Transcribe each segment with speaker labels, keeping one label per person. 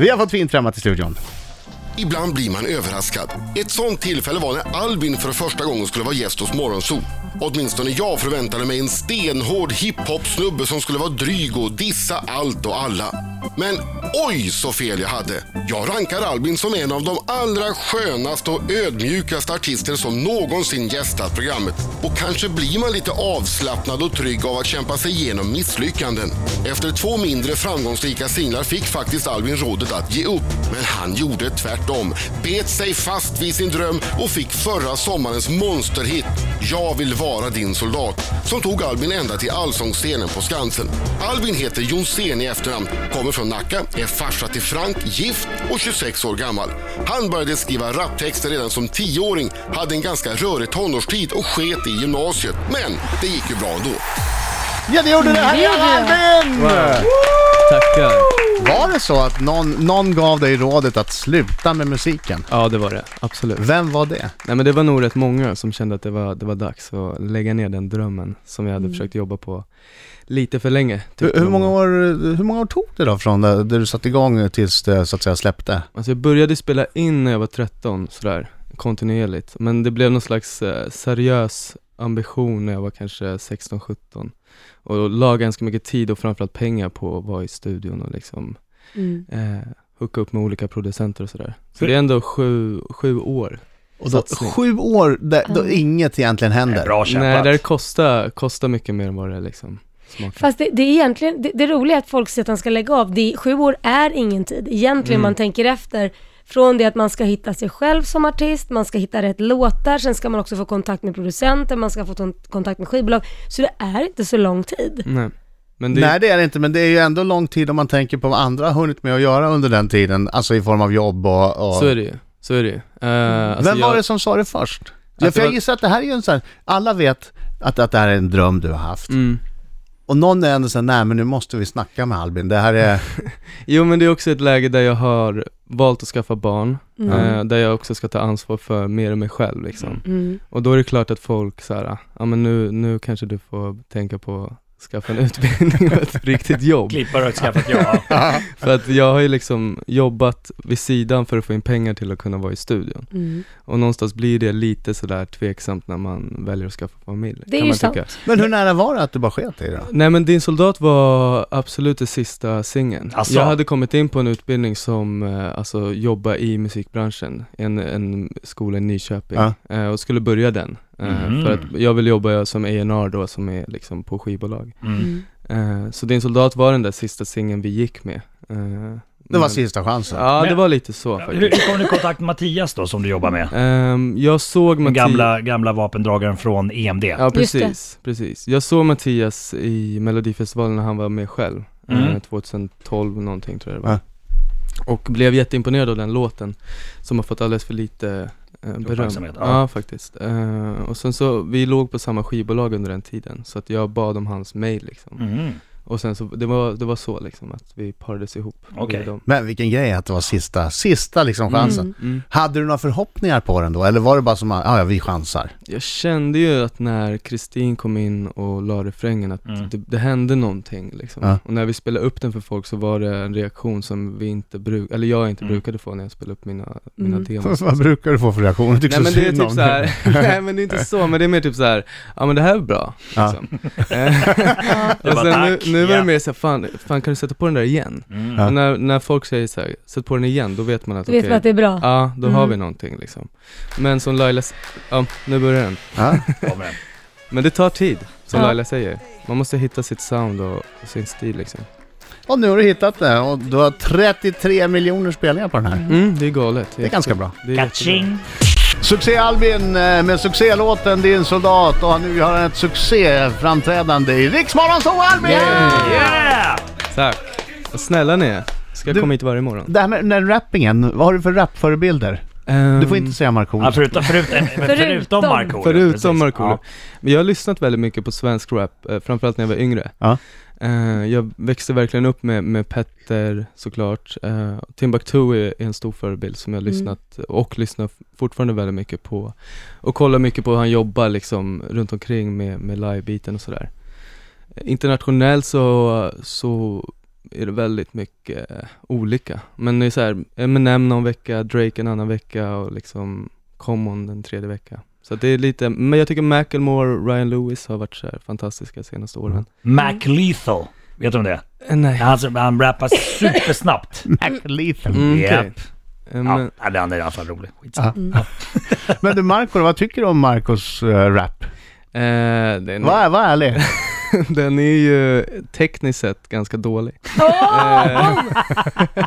Speaker 1: Vi har fått fint främmat till studion.
Speaker 2: Ibland blir man överraskad. Ett sånt tillfälle var när Albin för första gången skulle vara gäst hos Morgonzoo. Åtminstone jag förväntade mig en stenhård hiphop-snubbe som skulle vara dryg och dissa allt och alla. Men oj så fel jag hade. Jag rankar Albin som en av de allra skönaste och ödmjukaste artister som någonsin gästat programmet. Och kanske blir man lite avslappnad och trygg av att kämpa sig igenom misslyckanden. Efter två mindre framgångsrika singlar fick faktiskt Alvin rådet att ge upp. Men han gjorde tvärtom. Bet sig fast vid sin dröm och fick förra sommarens monsterhit Jag vill vara din soldat som tog Albin ända till allsångsscenen på Skansen. Albin heter Jonsén i efternamn, kommer från Nacka, är farsa till Frank, gift och 26 år gammal. Han började skriva raptexter redan som 10-åring, hade en ganska rörig tonårstid och sket i gymnasiet. Men det gick ju bra ändå.
Speaker 1: Ja, det gjorde det! Här är Albin!
Speaker 3: Tackar.
Speaker 1: Var det så att någon, någon gav dig rådet att sluta med musiken?
Speaker 3: Ja, det var det. Absolut.
Speaker 1: Vem var det?
Speaker 3: Nej, men det var nog rätt många som kände att det var, det var dags att lägga ner den drömmen som jag hade försökt jobba på lite för länge.
Speaker 1: Mm. Hur,
Speaker 3: tyckte
Speaker 1: hur,
Speaker 3: de.
Speaker 1: många år, hur många år tog det då från det, där du satte igång tills det så att säga släppte?
Speaker 3: Alltså jag började spela in när jag var 13 sådär, kontinuerligt. Men det blev någon slags eh, seriös ambition när jag var kanske 16-17. Och la ganska mycket tid och framförallt pengar på att vara i studion och liksom
Speaker 4: Mm.
Speaker 3: eh, hooka upp med olika producenter och sådär. Så
Speaker 1: Hur-
Speaker 3: det är ändå sju, sju år.
Speaker 1: Och då,
Speaker 3: Satsning.
Speaker 1: sju år där, då
Speaker 4: Ja.
Speaker 1: inget egentligen händer?
Speaker 5: Bra
Speaker 3: Nej,
Speaker 5: kämpat.
Speaker 3: det här kostar, kostar mycket mer än vad det liksom smakar.
Speaker 4: Fast det, det är egentligen, det, det roliga är att folk säger att han ska lägga av. Det, är- sju år är ingen tid. Egentligen
Speaker 3: Mm.
Speaker 4: man tänker efter, från det att man ska hitta sig själv som artist, man ska hitta rätt låtar, sen ska man också få kontakt med producenter, man ska få ton- kontakt med skivbolag. Så det är inte så lång tid.
Speaker 3: Nej. Men det,
Speaker 1: Nej det är det inte, men det är ju ändå lång tid om man tänker på vad andra har hunnit med att göra under den tiden, alltså i form av jobb och... och...
Speaker 3: Så är det ju, så är det ju. Eh, alltså
Speaker 1: Vem
Speaker 3: jag,
Speaker 1: var det som sa det först? Ja,
Speaker 3: Att
Speaker 1: för
Speaker 3: det
Speaker 1: Alltså jag
Speaker 3: var-
Speaker 1: gissar att det här är ju en sån här, alla vet att, att det här är en dröm du har haft.
Speaker 3: Mm.
Speaker 1: Och någon är ändå såhär, nej men nu måste vi snacka med Albin, det här är...
Speaker 3: Jo men det är också ett läge där jag har valt att skaffa barn,
Speaker 1: Mm.
Speaker 3: eh, där jag också ska ta ansvar för mer än mig själv liksom.
Speaker 4: Mm.
Speaker 3: Och då är det klart att folk så här, "Ah, ja men nu, nu kanske du får tänka på att skaffa en utbildning och ett riktigt jobb.
Speaker 5: Klippare har ett skaffat ja.
Speaker 3: För att jag har ju liksom jobbat vid sidan för att få in pengar till att kunna vara i studion.
Speaker 4: Mm.
Speaker 3: Och någonstans blir det lite sådär tveksamt när man väljer att skaffa familj.
Speaker 4: Det är
Speaker 3: kan
Speaker 4: ju
Speaker 3: man tycka.
Speaker 1: Men hur nära var det att du bara sket i det då?
Speaker 3: Nej men Din soldat var absolut den sista singeln.
Speaker 5: Asså?
Speaker 3: Jag hade kommit in på en utbildning som, eh, alltså jobba i musikbranschen, en, en skola i Nyköping,
Speaker 1: Ja.
Speaker 3: eh, och skulle börja den. Eh,
Speaker 5: Mhm.
Speaker 3: För att jag vill jobba som A&R då, som är liksom på skivbolag.
Speaker 5: Mm.
Speaker 3: Eh, så Din soldat var den där sista singeln vi gick med. Eh,
Speaker 1: Det var
Speaker 3: men-
Speaker 1: sista chansen.
Speaker 3: Ja, det
Speaker 5: Men-
Speaker 3: var lite så
Speaker 5: Hur, hur
Speaker 3: faktiskt.
Speaker 5: kom du i kontakt med Mattias då, som du jobbar med?
Speaker 3: Ehm, jag såg
Speaker 5: Den
Speaker 3: Matti-
Speaker 5: gamla, gamla vapendragaren från E EMD.
Speaker 3: Ja
Speaker 4: Just det.
Speaker 3: precis, precis. Jag såg Mattias i Melodifestivalen när han var med själv,
Speaker 5: Mm.
Speaker 3: eh, 2012 någonting tror jag det var.
Speaker 1: Ja.
Speaker 3: Och blev jätteimponerad av den låten, som har fått alldeles för lite eh, beröm.
Speaker 5: Uppmärksamhet, ja.
Speaker 3: ja. faktiskt. Eh, och sen så, vi låg på samma skivbolag under den tiden, så att jag bad om hans mail liksom.
Speaker 5: Mm.
Speaker 3: Och sen så, det var, det var så liksom att vi parades ihop. via
Speaker 5: Okej.
Speaker 3: dem.
Speaker 1: Men vilken grej att det var sista, sista liksom chansen.
Speaker 3: Mm.
Speaker 1: Hade du några förhoppningar på den då, eller var det bara som att, ja ja, vi chansar?
Speaker 3: Jag kände ju att när Kristin kom in och la refrängen att
Speaker 5: Mm.
Speaker 3: det, det hände någonting liksom.
Speaker 1: Ja.
Speaker 3: Och när vi spelade upp den för folk så var det en reaktion som vi inte bruk, eller jag inte
Speaker 5: Mm.
Speaker 3: brukade få när jag spelade upp mina, mina
Speaker 4: Mm.
Speaker 3: demos.
Speaker 1: Vad brukar du få för reaktioner? Tycker
Speaker 3: Nej men
Speaker 1: så
Speaker 3: det är
Speaker 1: synd
Speaker 3: typ
Speaker 1: om
Speaker 3: så här, nej men det är inte så, men det är mer typ så här, ja men det här är bra
Speaker 1: Ja.
Speaker 3: liksom. Eh,
Speaker 5: Det
Speaker 3: Och
Speaker 5: var
Speaker 3: sen nu,
Speaker 5: tack,
Speaker 3: nu var
Speaker 5: ja.
Speaker 3: det mer så här, fan, fan kan du sätta på den där igen?
Speaker 5: Mm.
Speaker 1: Ja.
Speaker 3: Och när, när folk säger så här, sätt på den igen, då vet man att
Speaker 4: Då vet
Speaker 3: okej, Ah.
Speaker 4: man att det är bra.
Speaker 3: ja då har
Speaker 4: Mm.
Speaker 3: vi någonting liksom. Men som Laila, s- ja nu börjar den.
Speaker 1: Ja.
Speaker 5: Kommer den.
Speaker 3: Men det tar tid, som
Speaker 4: Ja.
Speaker 3: Laila säger. Man måste hitta sitt sound och, och sin stil liksom.
Speaker 1: Och nu har du hittat det och du har 33 miljoner spelningar på den här.
Speaker 3: Mm, det är galet.
Speaker 1: Det är ganska bra.
Speaker 3: Det är jättebra.
Speaker 5: Kaching!
Speaker 1: Succé Albin eh, med succélåten Din soldat och nu har han ett succéframträdande i Riksmorgon så Albin!
Speaker 5: Yeah!
Speaker 3: Tack. Vad snälla ni är. Ska jag
Speaker 1: Du-
Speaker 3: komma hit varje morgon?
Speaker 1: Det här med den här rappingen, vad har du för rapförebilder? Du
Speaker 3: Ehm,
Speaker 1: får inte säga
Speaker 5: Ja,
Speaker 1: Markoolio.
Speaker 5: förutom, förutom, förutom
Speaker 4: Förutom.
Speaker 5: Markoolio.
Speaker 3: Förutom
Speaker 5: precis.
Speaker 3: Markoolio. Men jag har lyssnat väldigt mycket på svensk rap, eh, framförallt när jag var yngre.
Speaker 1: Ja.
Speaker 3: Eh, jag växte verkligen upp med, med Petter såklart. Eh, Timbuktu är, är en stor förebild som jag har
Speaker 4: Mm.
Speaker 3: lyssnat och lyssnar fortfarande väldigt mycket på. Och kollar mycket på hur han jobbar liksom runt omkring med, med livebiten och sådär. Eh, Internationellt så, så är det väldigt mycket eh, olika. Men det är så här, Eminem någon vecka, Drake en annan vecka och liksom Common den tredje veckan. Så att det är lite, men jag tycker Macklemore och Ryan Lewis har varit så här fantastiska de senaste åren.
Speaker 5: Mac Lethal. Mm. Vet du om det?
Speaker 3: Eh, Nej.
Speaker 5: Han, som- han rappar supersnabbt.
Speaker 1: Mac Lethal.
Speaker 3: Mm, okej.
Speaker 5: Japp.
Speaker 3: Eh, men-
Speaker 5: Ja, ja, han är i alla fall rolig. Skitsamma.
Speaker 4: Mm.
Speaker 1: Men du Marco, vad tycker du om Marcos eh, rap?
Speaker 3: Eh, den,
Speaker 1: Vad vad ärlig.
Speaker 3: den är ju tekniskt sett ganska dålig. Ah.
Speaker 4: Åh!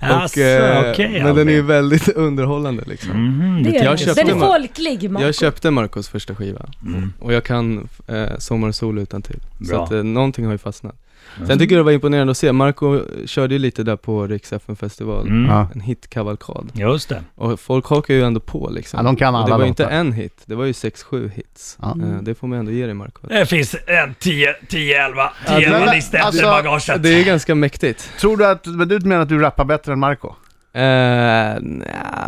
Speaker 5: Alltså,
Speaker 3: eh,
Speaker 5: okej,
Speaker 3: men den är ju
Speaker 5: Albin.
Speaker 3: väldigt underhållande liksom.
Speaker 5: Mhm,
Speaker 4: Det
Speaker 5: det-
Speaker 4: är
Speaker 3: jag
Speaker 4: det.
Speaker 3: köpte
Speaker 4: Den är
Speaker 3: ma-
Speaker 4: folklig, Marco.
Speaker 3: Jag köpte Marcos första skiva
Speaker 5: Mm.
Speaker 3: och jag kan eh, Sommar och sol utan till. Så
Speaker 5: Bra.
Speaker 3: att eh, någonting har ju fastnat.
Speaker 5: Mm.
Speaker 3: Sen tycker jag det var imponerande att se, Marco körde ju lite där på Rix festival
Speaker 5: Mm.
Speaker 1: Ja.
Speaker 3: en hitkavalkad.
Speaker 5: Just det.
Speaker 3: Och folk hakar ju ändå på liksom.
Speaker 1: Ja, de kan
Speaker 3: Och
Speaker 1: alla
Speaker 3: det var ju
Speaker 1: låtar.
Speaker 3: inte en hit, det var ju sex, sju hits.
Speaker 1: Ja. Mm.
Speaker 3: Eh, det får man ändå ge dig Marco.
Speaker 5: Det finns en 10, 10, 11,
Speaker 1: men-
Speaker 5: 10, 11 listor
Speaker 1: alltså,
Speaker 5: efter bagaget.
Speaker 3: Det är ganska mäktigt.
Speaker 1: Tror du att, men du menar att du rappar bättre än Marco?
Speaker 3: Eh, nja,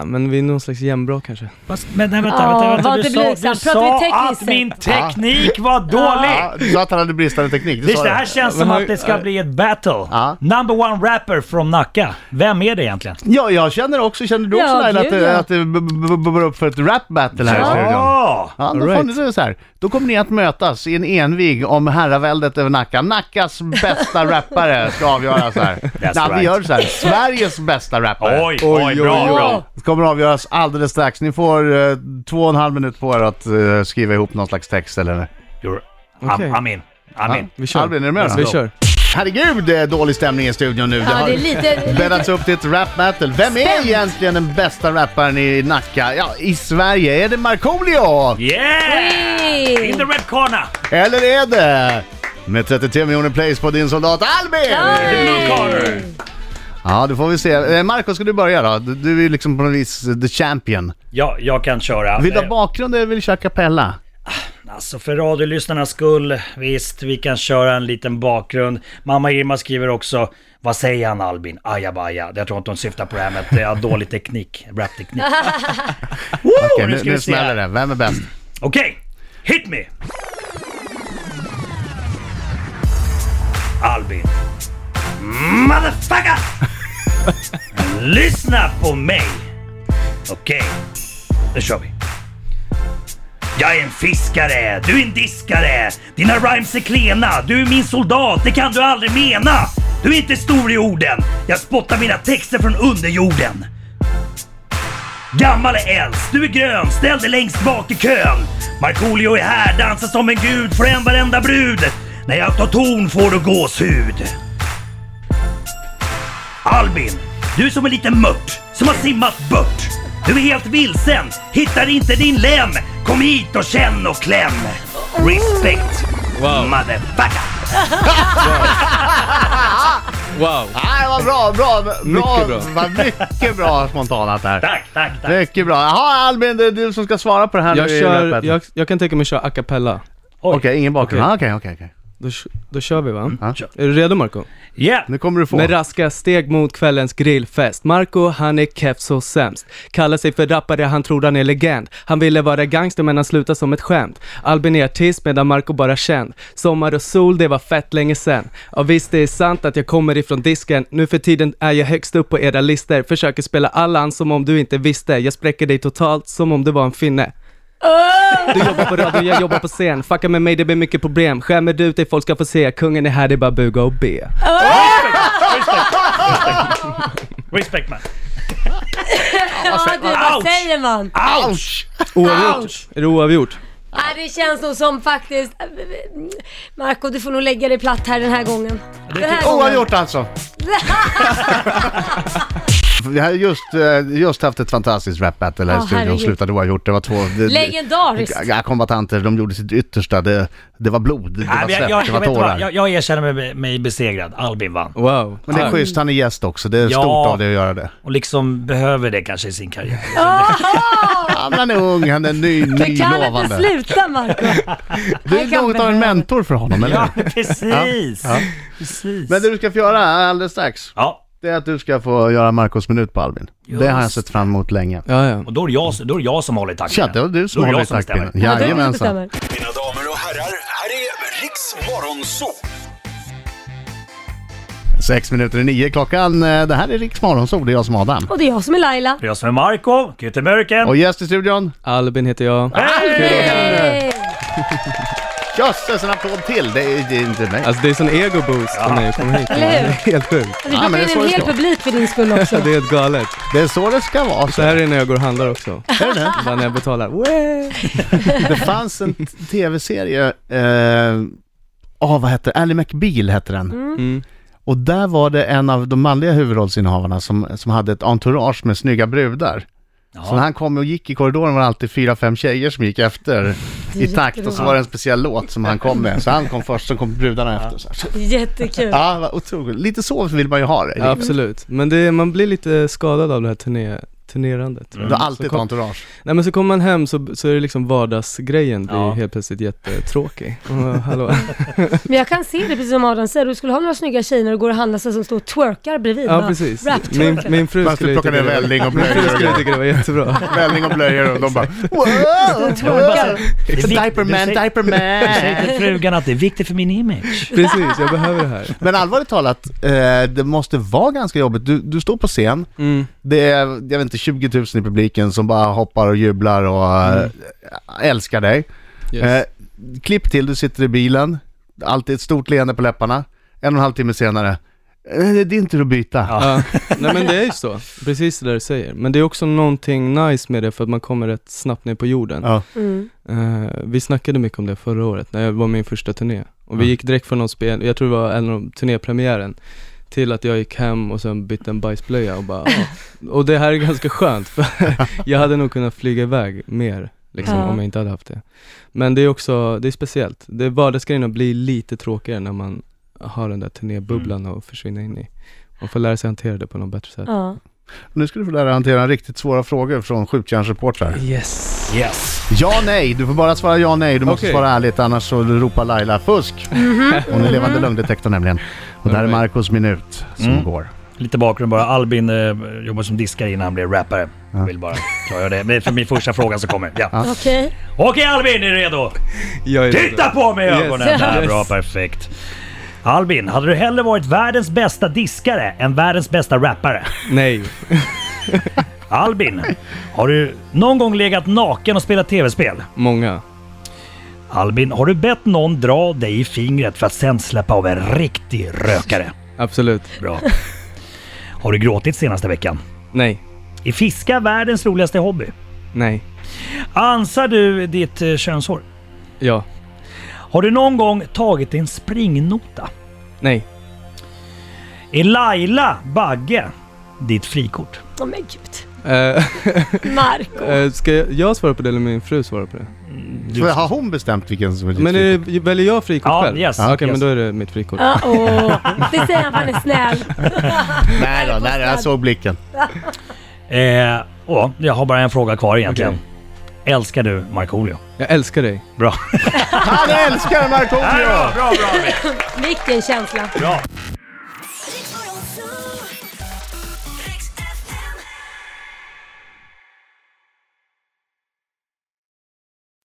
Speaker 3: men vi är någon slags jämnbra kanske.
Speaker 5: Fast- Men nej, vänta,
Speaker 4: Ja,
Speaker 5: vänta, vänta.
Speaker 4: vad
Speaker 5: Du
Speaker 4: det
Speaker 5: sa,
Speaker 4: blir
Speaker 5: du
Speaker 4: sant. Pratar vi
Speaker 5: sa
Speaker 4: tekniskt
Speaker 5: att
Speaker 4: sett?
Speaker 5: min teknik var dålig.
Speaker 1: Ja, du sa att han hade bristande teknik, det
Speaker 5: Det,
Speaker 1: sa
Speaker 5: det här
Speaker 1: du.
Speaker 5: känns
Speaker 3: Men
Speaker 5: som
Speaker 3: har-
Speaker 5: att det ska
Speaker 3: äh,
Speaker 5: bli ett battle.
Speaker 1: Ja.
Speaker 5: Number one rapper från Nacka. Vem är det egentligen?
Speaker 1: Ja, jag känner också, känner du också
Speaker 4: Ja,
Speaker 1: Laila att
Speaker 4: gud,
Speaker 1: det,
Speaker 4: ja.
Speaker 1: att det b- b- bubblar upp för ett rap-battle här i studion?
Speaker 5: Ja!
Speaker 1: Ja, då,
Speaker 3: All
Speaker 1: får
Speaker 3: right.
Speaker 1: ni det så här. då kommer ni att mötas i en envig om herraväldet över Nacka. Nackas bästa rappare ska avgöras här. Nej, vi
Speaker 5: right.
Speaker 1: gör så här. Sveriges bästa rappare.
Speaker 5: Oj, oj, bra, bra.
Speaker 1: Det kommer avgöras alldeles strax. Ni får eh, två och en halv minut på er att eh, skriva ihop någon slags text eller...
Speaker 5: You're-
Speaker 3: Okej.
Speaker 5: I'm, I'm in. I'm in.
Speaker 3: Vi kör.
Speaker 1: Albin, är du med då?
Speaker 3: Vi kör.
Speaker 1: Herregud, eh, dålig stämning i studion nu. Det
Speaker 4: Ja,
Speaker 1: har
Speaker 4: det är lite...
Speaker 1: bäddats upp till ett rap-battle. Vem är egentligen den bästa rapparen i Nacka? Ja, i Sverige. Är det Markoolio?
Speaker 5: Yeah! In the red corner!
Speaker 1: Eller är det... Med 33 miljoner plays på din soldat Albin!
Speaker 5: Blue corner!
Speaker 1: Ja, då får vi se. Eh, Marco, ska du börja då? Du, du är ju liksom på något vis eh, the champion.
Speaker 5: Ja, jag kan köra.
Speaker 1: Vill du
Speaker 5: Eh,
Speaker 1: ha bakgrund eller vill du köra kapella?
Speaker 5: Alltså för radiolyssnarnas skull, visst vi kan köra en liten bakgrund. Mamma Irma skriver också, vad säger han Albin? Ajabaja. Jag tror inte hon syftar på det här med att jag har dålig teknik, rapteknik. Woo!
Speaker 1: Okej,
Speaker 5: nu
Speaker 1: nu,
Speaker 5: ska
Speaker 1: nu
Speaker 5: vi se.
Speaker 1: smäller
Speaker 5: här.
Speaker 1: det. Vem är bäst?
Speaker 5: Okej, hit me! Albin. Motherfucker! Lyssna på mig! Okej, nu kör vi. Jag är en fiskare, du är en diskare. Dina rhymes är klena. Du är min soldat, det kan du aldrig mena. Du är inte stor i orden. Jag spottar mina texter från underjorden. Gammal är äldst, du är grön, ställ dig längst bak i kön. Markoolio är här, dansar som en gud för en varenda brud. När jag tar ton får du gåshud. Albin, du är som en liten mört som har simmat bort. Du är helt vilsen, hittar inte din lem. Kom hit och känn och kläm. Respect,
Speaker 3: Wow.
Speaker 5: motherfucker.
Speaker 3: Wow.
Speaker 1: Nej, vad bra, bra, bra.
Speaker 3: Mycket bra.
Speaker 1: Vad mycket bra spontanat där.
Speaker 5: Tack, tack, tack.
Speaker 1: Mycket bra. Jaha, Albin, det är du som ska svara på det här
Speaker 3: Jag,
Speaker 1: nu i
Speaker 3: kör,
Speaker 1: rappet.
Speaker 3: jag, jag kan tänka mig att köra a cappella.
Speaker 1: Okej, ingen bakgrund.
Speaker 3: Okej.
Speaker 1: Ah, Okej, okej, okej.
Speaker 3: Då, kö- då kör vi va?
Speaker 1: Mm.
Speaker 5: Kör.
Speaker 3: Är du redo Marco?
Speaker 5: Yeah.
Speaker 1: Nu kommer du få.
Speaker 3: Med raska steg mot kvällens grillfest. Marco, han är keff så sämst. Kallar sig för rappare, han tror han är legend. Han ville vara gangster men han slutade som ett skämt. Albin är artist medan Marco bara känd. Sommar och sol, det var fett länge sen. Ja visst, det är sant att jag kommer ifrån disken. Nu för tiden är jag högst upp på era listor. Försöker spela Allan som om du inte visste. Jag spräcker dig totalt som om du var en finne. Du jobbar på radio, jag jobbar på scen. Fucka med mig, det blir mycket problem. Skämmer du ut dig, folk ska få se. Kungen är här, det är bara buga och be.
Speaker 5: Respect man.
Speaker 3: Alltså,
Speaker 4: Ja, du, vad
Speaker 5: Ouch!
Speaker 4: säger man?
Speaker 1: Ouch!
Speaker 3: Oavgjort. Är det oavgjort?
Speaker 4: Ja, det känns nog som faktiskt... Marco, du får nog lägga dig platt här den här gången. Den här gången.
Speaker 1: Oavgjort alltså. Vi har just, eh, just haft ett fantastiskt rap-battle här i
Speaker 4: Ja,
Speaker 1: studion.
Speaker 4: herregud.
Speaker 1: Slutade oavgjort. Det var två... det-
Speaker 4: Legendariskt!
Speaker 1: Ja, Kombatanter, de gjorde sitt yttersta. Det, det var blod, det var
Speaker 5: Nej, men
Speaker 1: svett,
Speaker 5: jag, jag,
Speaker 1: det
Speaker 5: jag,
Speaker 1: var
Speaker 5: vet
Speaker 1: tårar.
Speaker 5: vad, jag, jag erkänner mig, mig besegrad. Albin vann.
Speaker 3: Wow.
Speaker 1: Men det är
Speaker 3: Tack.
Speaker 1: schysst, han är gäst också. Det är
Speaker 5: Ja.
Speaker 1: stort av dig att göra det.
Speaker 5: Och liksom behöver det kanske i sin karriär.
Speaker 1: Ja, men han är ung, han är ny,
Speaker 4: Du kan inte
Speaker 1: nylovande.
Speaker 4: sluta Marco!
Speaker 1: Du
Speaker 4: Han
Speaker 1: är något
Speaker 4: kan
Speaker 1: av en
Speaker 4: behöva.
Speaker 1: mentor för honom, eller
Speaker 5: Ja,
Speaker 1: hur?
Speaker 5: precis.
Speaker 1: Ja, ja.
Speaker 5: precis.
Speaker 1: Men det du ska få göra alldeles strax,
Speaker 5: Ja,
Speaker 1: det är att du ska få göra Marcos minut på Albin. Det har jag sett fram emot länge.
Speaker 3: Ja, ja.
Speaker 5: och då är det jag, då är det jag som håller i takten.
Speaker 1: Tja, det var du som
Speaker 5: Då är det
Speaker 1: håller
Speaker 5: jag
Speaker 1: i
Speaker 5: som
Speaker 1: taktpinnen.
Speaker 5: bestämmer.
Speaker 4: Ja, det är du som
Speaker 1: Jajamensan.
Speaker 4: bestämmer.
Speaker 6: Mina damer och herrar, här är Riks Morgonzoo!
Speaker 1: Sex minuter i nio klockan. Eh, Det här är Riks Morgonzoo, det är jag som är Adam.
Speaker 4: Och det är jag som är Laila.
Speaker 5: Det är jag som är Marco, Kyttemörken.
Speaker 1: Och gäst i studion,
Speaker 3: Albin heter jag.
Speaker 4: Yay!
Speaker 1: jösses en applåd till! Det är, det är inte mig.
Speaker 3: Alltså det är sån ego-boost för mig att komma hit. Det
Speaker 4: Eller
Speaker 3: är
Speaker 4: hur?
Speaker 3: helt sjukt.
Speaker 4: Vi
Speaker 1: Ja, men
Speaker 4: plockar
Speaker 1: det är
Speaker 4: in
Speaker 1: så
Speaker 4: en
Speaker 1: det
Speaker 4: hel
Speaker 1: ska vara.
Speaker 4: publik för din skull också.
Speaker 3: Det är helt galet.
Speaker 1: Det är så det ska vara.
Speaker 3: Så här är det när jag går och handlar också.
Speaker 1: Är det?
Speaker 3: Bara när jag betalar. Wee!
Speaker 1: Det fanns en t- tv-serie, eh, oh, vad hette den? Ally McBeal hette den.
Speaker 3: Mm.
Speaker 1: Och där var det en av de manliga huvudrollsinnehavarna som, som hade ett entourage med snygga brudar. Så när han kom och gick i korridoren var det alltid fyra, fem tjejer som gick efter i takt och så var det en speciell låt som han kom med. Så han kom först, så kom brudarna efter. Så här.
Speaker 4: Jättekul.
Speaker 1: Ja, vad otroligt. Lite så vill man ju ha det.
Speaker 3: Ja, absolut. Men det, man blir lite skadad av det här turné, turnerandet. tror
Speaker 1: Du
Speaker 3: jag.
Speaker 1: har alltid
Speaker 3: Så
Speaker 1: ett
Speaker 3: kom-
Speaker 1: entourage.
Speaker 3: Nej men så kommer man hem så, så är det liksom vardagsgrejen blir
Speaker 5: Ja.
Speaker 3: helt plötsligt jättetråkig. Och, hallå.
Speaker 4: Men jag kan se det precis som Adam säger, du skulle ha några snygga tjejer när du går och handlar så som står och twerkar bredvid.
Speaker 3: Ja
Speaker 4: va?
Speaker 3: precis.
Speaker 4: Rap-twerkar.
Speaker 3: Min, min fru
Speaker 1: Man
Speaker 3: skulle
Speaker 1: skulle
Speaker 3: ju
Speaker 1: plocka ner
Speaker 3: tycka det var-
Speaker 1: välling och
Speaker 3: Min fru skulle
Speaker 1: blöjor.
Speaker 3: tycka det var jättebra.
Speaker 1: Välling och blöjor och de bara wow!
Speaker 5: Jag vill bara säga- det är
Speaker 1: It's
Speaker 5: vik-
Speaker 1: diaper
Speaker 5: du
Speaker 1: man,
Speaker 5: säger-
Speaker 1: diaper
Speaker 5: Du säger
Speaker 1: man!
Speaker 5: till frugan att det är viktigt för min image.
Speaker 3: Precis, jag behöver det här.
Speaker 1: Men allvarligt talat, eh, det måste vara ganska jobbigt. Du, du står på scen,
Speaker 3: Mm.
Speaker 1: det är, jag vet inte, 20 000 i publiken som bara hoppar och jublar och eh, älskar dig.
Speaker 3: Yes.
Speaker 1: Eh, klipp till, du sitter i bilen, alltid ett stort leende på läpparna. En och en halv timme senare, eh, det är din tur att byta.
Speaker 3: Ja. Nej men det är ju så, precis det där du säger. Men det är också någonting nice med det för att man kommer rätt snabbt ner på jorden.
Speaker 1: Ja.
Speaker 4: Mm.
Speaker 3: Eh, vi snackade mycket om det förra året när jag var min första turné. Och vi gick direkt från någon spel, jag tror det var en av turnépremiären, till att jag gick hem och sen bytte en bajsblöja och bara, ja. Och det här är ganska skönt för jag hade nog kunnat flyga iväg mer liksom,
Speaker 4: Ja.
Speaker 3: om jag inte hade haft det. Men det är också, det är speciellt. Det vardagsgrejerna blir lite tråkigare när man har den där turnébubblan att försvinna in i. Och får lära sig hantera det på något bättre sätt.
Speaker 4: Ja.
Speaker 1: Nu ska du få lära dig hantera riktigt svåra frågor från skjutjärnsreportrar.
Speaker 3: Yes!
Speaker 5: Yes.
Speaker 1: Ja, nej. Du får bara svara ja, nej. Du måste
Speaker 3: Okej.
Speaker 1: svara ärligt, annars så ropar Laila fusk. Hon är levande lögndetektor nämligen. Och där är
Speaker 3: Perfekt.
Speaker 1: Marcos minut som
Speaker 5: Mm.
Speaker 1: går.
Speaker 5: Lite bakgrund bara. Albin eh, jobbar som diskare innan han blev rappare.
Speaker 1: Ja.
Speaker 5: Vill bara klara det. Det är för min första fråga som kommer. Ja.
Speaker 4: Okej.
Speaker 5: Okej Albin, är du redo?
Speaker 3: Jag är redo.
Speaker 5: Titta på mig i
Speaker 3: Yes.
Speaker 5: ögonen! Där, bra, perfekt. Albin, hade du hellre varit världens bästa diskare än världens bästa rappare?
Speaker 3: Nej.
Speaker 5: Albin, har du någon gång legat naken och spelat tv-spel?
Speaker 3: Många.
Speaker 5: Albin, har du bett någon dra dig i fingret för att sen släppa av en riktig rökare?
Speaker 3: Absolut.
Speaker 5: Bra. Har du gråtit senaste veckan?
Speaker 3: Nej.
Speaker 5: Är fiska världens roligaste hobby?
Speaker 3: Nej.
Speaker 5: Ansar du ditt eh, könshår?
Speaker 3: Ja.
Speaker 5: Har du någon gång tagit en springnota?
Speaker 3: Nej.
Speaker 5: Är Laila Bagge ditt frikort?
Speaker 4: Åh men gud.
Speaker 3: Eh,
Speaker 4: Marco.
Speaker 3: eh, ska jag, jag svara på det eller min fru svara på det?
Speaker 5: Du-
Speaker 1: Har hon bestämt vilken som är ditt
Speaker 3: Men
Speaker 1: frikort?
Speaker 3: är, det- väljer jag frikort
Speaker 5: Ja,
Speaker 3: själv? Ah,
Speaker 5: yes,
Speaker 3: Okej,
Speaker 5: yes.
Speaker 3: men då är det mitt frikort.
Speaker 4: Ja, åh. Det säger han för han är snäll.
Speaker 1: Nej då, nej, jag såg blicken.
Speaker 5: Eh, åh, jag har bara en fråga kvar egentligen. Älskar du Markoolio?
Speaker 3: Jag älskar dig.
Speaker 5: Bra.
Speaker 1: Han älskar Markoolio!
Speaker 5: bra, bra,
Speaker 4: Vilken känsla.
Speaker 5: bra.
Speaker 6: Riks Morgonzoo.